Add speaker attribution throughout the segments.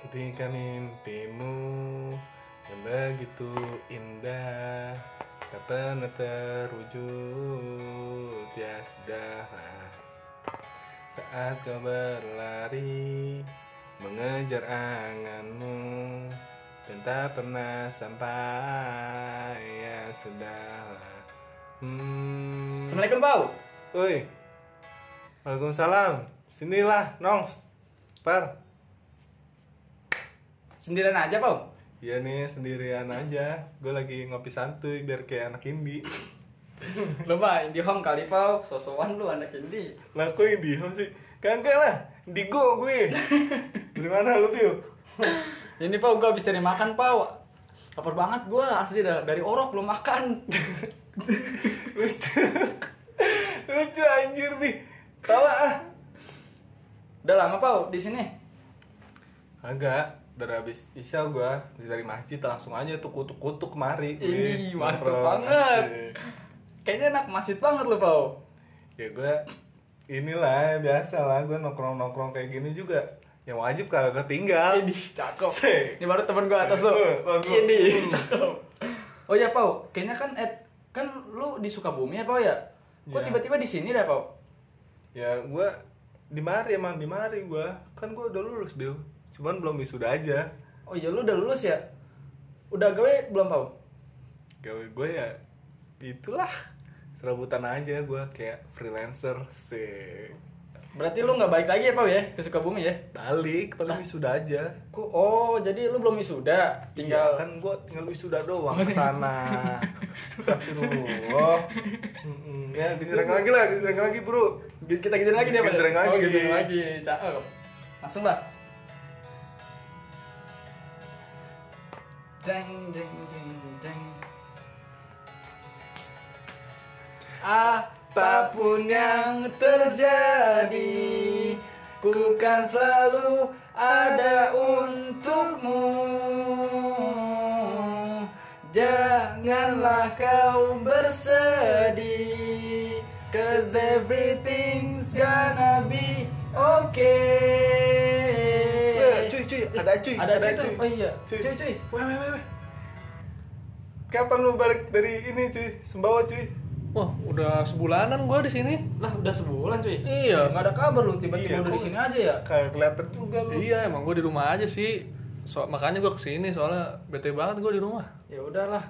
Speaker 1: Ketika mimpimu yang begitu gitu indah Tak pernah terwujud Ya sudahlah Saat kau berlari Mengejar anganmu Dan tak pernah sampai Ya sudahlah Hmm
Speaker 2: Assalamualaikum Pau
Speaker 1: Woi Waalaikumsalam Sinilah Nongs Par
Speaker 2: Sendirian aja Pau
Speaker 1: Iya nih sendirian aja Gue lagi ngopi santuy biar kayak anak indie
Speaker 2: Lu mah indie home kali Pau Sosokan lu anak indie
Speaker 1: Lah kok indie home sih? Kagak lah Digo gue Dari mana lu Bio?
Speaker 2: Ini Pau gue habis dari makan Pau Lapar banget gue asli dah dari orok belum makan
Speaker 1: Lucu Lucu anjir nih Tawa ah
Speaker 2: Udah lama Pau di sini
Speaker 1: Agak dari abis isya gue abis dari masjid langsung aja tuh kutuk-kutuk kemari
Speaker 2: Ini
Speaker 1: Gue
Speaker 2: mantep
Speaker 1: nongkrong.
Speaker 2: banget.
Speaker 1: Asik.
Speaker 2: Kayaknya anak masjid banget lu Pau
Speaker 1: ya gue inilah biasa lah gue nongkrong nongkrong kayak gini juga yang wajib kalau ketinggal
Speaker 2: Ini cakep
Speaker 1: Sik.
Speaker 2: Ini baru temen gue atas lu
Speaker 1: Eh, bagus.
Speaker 2: Ini cakep Oh ya Pau Kayaknya kan Ed Kan lu di Sukabumi ya Pau ya Kok
Speaker 1: Iya.
Speaker 2: tiba-tiba di sini dah Pau
Speaker 1: ya gue di mari emang di mari gue kan gue udah lulus Bill cuman belum wisuda aja
Speaker 2: Oh iya lu udah lulus ya? Udah gawe belum Pau?
Speaker 1: gawe gue ya itulah serabutan aja gue kayak freelancer sih
Speaker 2: Berarti lu nggak balik lagi ya Pau ya ke Sukabumi ya?
Speaker 1: balik paling wisuda aja
Speaker 2: Ku, oh jadi lu belum wisuda
Speaker 1: Iya,
Speaker 2: tinggal
Speaker 1: kan gue tinggal wisuda doang ke sana Astagfirullah Mm-mm. ya diserang lagi lah diserang lagi bro
Speaker 2: kita gituin lagi deh Pak.
Speaker 1: Gituin lagi.
Speaker 2: Oh, gituin lagi cakep langsung lah jeng jeng jeng jeng apapun yang terjadi ku kan selalu ada untukmu Janganlah kau bersedih Cause everything's gonna
Speaker 1: Eh,
Speaker 2: be okay
Speaker 1: Ya, cuy cuy ada cuy
Speaker 2: Eh, Ada cuy tuh, oh iya
Speaker 1: Cuy.
Speaker 2: Cuy cuy, weh weh weh weh.
Speaker 1: kapan lu balik dari ini cuy sembawa cuy
Speaker 3: Wah, udah sebulanan gua di sini.
Speaker 2: Lah udah sebulan cuy
Speaker 3: Iya.
Speaker 2: Gak ada kabar lu, tiba-tiba
Speaker 1: Iya,
Speaker 2: udah di
Speaker 1: kok-
Speaker 2: sini aja ya
Speaker 1: kayak kelihatan juga lu
Speaker 3: Iya, emang gua di rumah aja sih. So, makanya gua kesini soalnya bete banget gua di rumah.
Speaker 2: Ya udahlah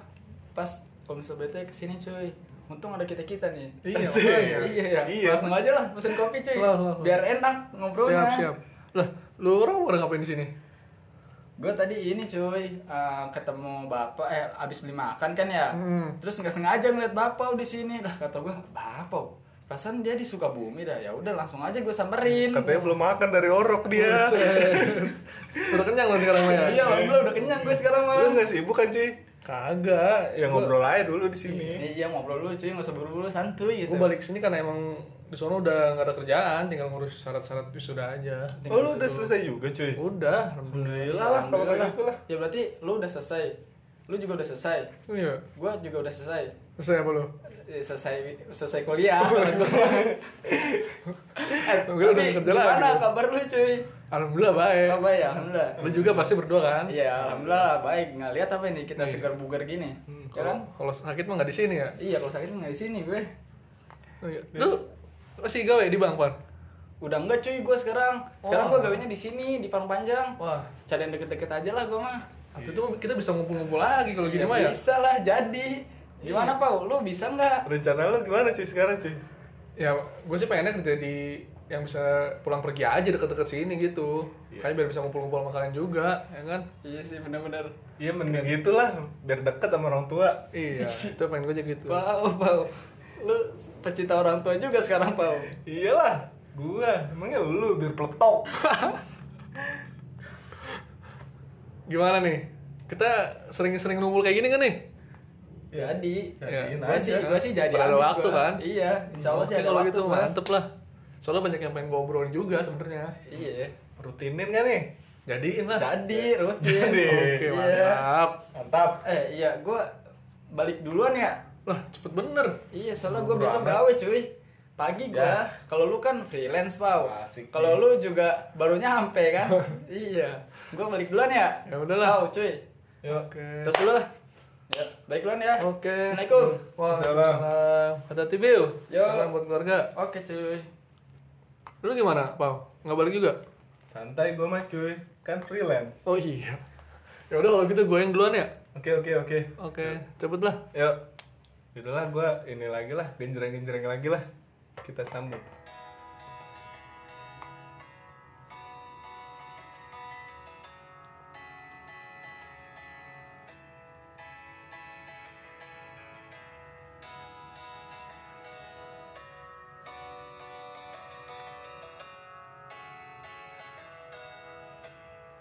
Speaker 2: Pas komisil BT kesini cuy Untung ada kita-kita nih
Speaker 3: Iya,
Speaker 1: Asik.
Speaker 2: Iya, iya, iya.
Speaker 1: Iya.
Speaker 2: Langsung aja lah pesen kopi cuy.
Speaker 3: Selalu, selalu.
Speaker 2: Biar enak ngobrolnya.
Speaker 3: Siap, siap. Lah, lu orang pada ngapain di sini?
Speaker 2: Gue tadi ini cuy eh, ketemu bapak eh abis beli makan kan ya.
Speaker 3: Hmm.
Speaker 2: Terus nggak sengaja ngeliat bapak di sini. Lah kata gue bapak. Perasaan dia di Sukabumi dah. Ya udah langsung aja gue samperin.
Speaker 1: katanya belum makan dari orok dia
Speaker 3: Udah kenyang lo sekarang Maya?
Speaker 2: Iya, alhamdulillah udah kenyang gue sekarang mah.
Speaker 1: lu nggak sibuk kan cuy
Speaker 3: Kagak.
Speaker 1: ya
Speaker 3: Gua-
Speaker 1: ngobrol aja dulu di sini
Speaker 2: Iya ngobrol dulu cuy nggak usah buru-buru santuy gitu.
Speaker 3: Gua balik sini karena emang di sono udah nggak ada kerjaan, tinggal ngurus syarat-syarat wisuda aja.
Speaker 1: oh
Speaker 2: Tinggal
Speaker 1: lu
Speaker 2: situ.
Speaker 1: udah selesai juga cuy
Speaker 3: Udah, alhamdulillah.
Speaker 1: alhamdulillah lah kalau kayak gitu lah
Speaker 2: Ya berarti lu udah selesai. Lu juga udah selesai.
Speaker 3: Iya.
Speaker 2: Gue juga udah selesai.
Speaker 3: Selesai apa lu?
Speaker 2: Eh, selesai selesai kuliah. eh,
Speaker 3: Mungkin udah
Speaker 2: tapi
Speaker 3: kerja lagi. Eh.
Speaker 2: gimana kabar lu cuy?
Speaker 3: Alhamdulillah baik.
Speaker 2: Apa ya, alhamdulillah.
Speaker 3: Lu juga pasti berdua kan?
Speaker 2: Iya, alhamdulillah baik. Nggak lihat apa ini kita segar bugar gini. Ya kan?
Speaker 3: Eh. Hmm, Kalau kalau sakit mah nggak di sini ya.
Speaker 2: Iya, kalau sakit nggak di sini gue.
Speaker 3: Oh, iya. Lu masih gawe di Bang Pan?
Speaker 2: Udah enggak cuy gue sekarang. Sekarang
Speaker 3: Oh.
Speaker 2: gue gawainya di sini di Parung Panjang.
Speaker 3: Wah,
Speaker 2: Cari yang deket-deket aja lah gue mah.
Speaker 3: Atau itu kita bisa ngumpul-ngumpul lagi kalau gini
Speaker 2: Ya,
Speaker 3: mah ya. Iya.
Speaker 2: bisa lah jadi. Gimana Pau? Lu bisa nggak?
Speaker 1: rencana lu gimana cuy sekarang cuy
Speaker 3: Ya, gue sih pengennya kerja di yang bisa pulang pergi aja deket-deket sini gitu.
Speaker 1: Iya.
Speaker 3: Kayaknya biar bisa ngumpul-ngumpul sama kalian juga, ya kan?
Speaker 2: Iya sih bener-bener.
Speaker 1: iya mending gitulah biar deket sama orang tua
Speaker 3: Iya, itu pengen gue aja gitu.
Speaker 2: Pau, Pau. Lu pecinta orang tua juga sekarang Pau.
Speaker 1: iyalah gua emangnya lu biar peletok
Speaker 3: Gimana nih? Kita sering-sering ngumpul kayak gini kan nih?
Speaker 2: Jadi,
Speaker 1: Jadiin
Speaker 2: gue Iya, sih
Speaker 1: aja.
Speaker 2: gue sih jadi
Speaker 3: Bakal ada
Speaker 2: abis
Speaker 3: waktu,
Speaker 2: gua.
Speaker 3: kan?
Speaker 2: Iya, insya Allah sih
Speaker 3: Oke,
Speaker 2: ada
Speaker 3: kalau
Speaker 2: waktu
Speaker 3: gitu
Speaker 2: gua.
Speaker 3: mantep lah. Soalnya banyak yang pengen gue obrolin juga sebenarnya.
Speaker 2: Iya.
Speaker 1: rutinin kan nih
Speaker 3: Jadiin lah.
Speaker 2: Jadi rutin.
Speaker 1: Jadi.
Speaker 3: Oke,
Speaker 2: Iya.
Speaker 3: mantap.
Speaker 1: mantap
Speaker 2: Eh iya, gue balik duluan ya.
Speaker 3: Lah, cepet bener.
Speaker 2: Iya, soalnya gue
Speaker 3: Buru
Speaker 2: besok
Speaker 3: amat.
Speaker 2: gawe cuy. pagi
Speaker 3: Ya.
Speaker 2: gua kalau lu kan freelance pau
Speaker 1: Asik
Speaker 2: kalau lu juga baru nyampe kan iya gua balik duluan ya
Speaker 3: Ya udahlah.
Speaker 2: Pau, cuy
Speaker 1: Yuk.
Speaker 3: Oke.
Speaker 2: terus dulu lah ya balik duluan ya
Speaker 3: Oke.
Speaker 2: assalamualaikum
Speaker 3: Waalaikumsalam. Hati-hati, Bill.
Speaker 2: Yo.
Speaker 3: Salam buat keluarga.
Speaker 2: oke cuy
Speaker 3: Lu gimana, Pau? Nggak balik juga?
Speaker 1: Santai gue mah cuy, kan freelance.
Speaker 3: Oh iya. Ya udah kalau gitu gue yang duluan ya.
Speaker 1: Oke oke oke.
Speaker 3: Oke, cepet lah.
Speaker 1: Yuk. Yaudah lah gue ini lagi lah, genjreng-genjreng lagi lah. Kita sambung.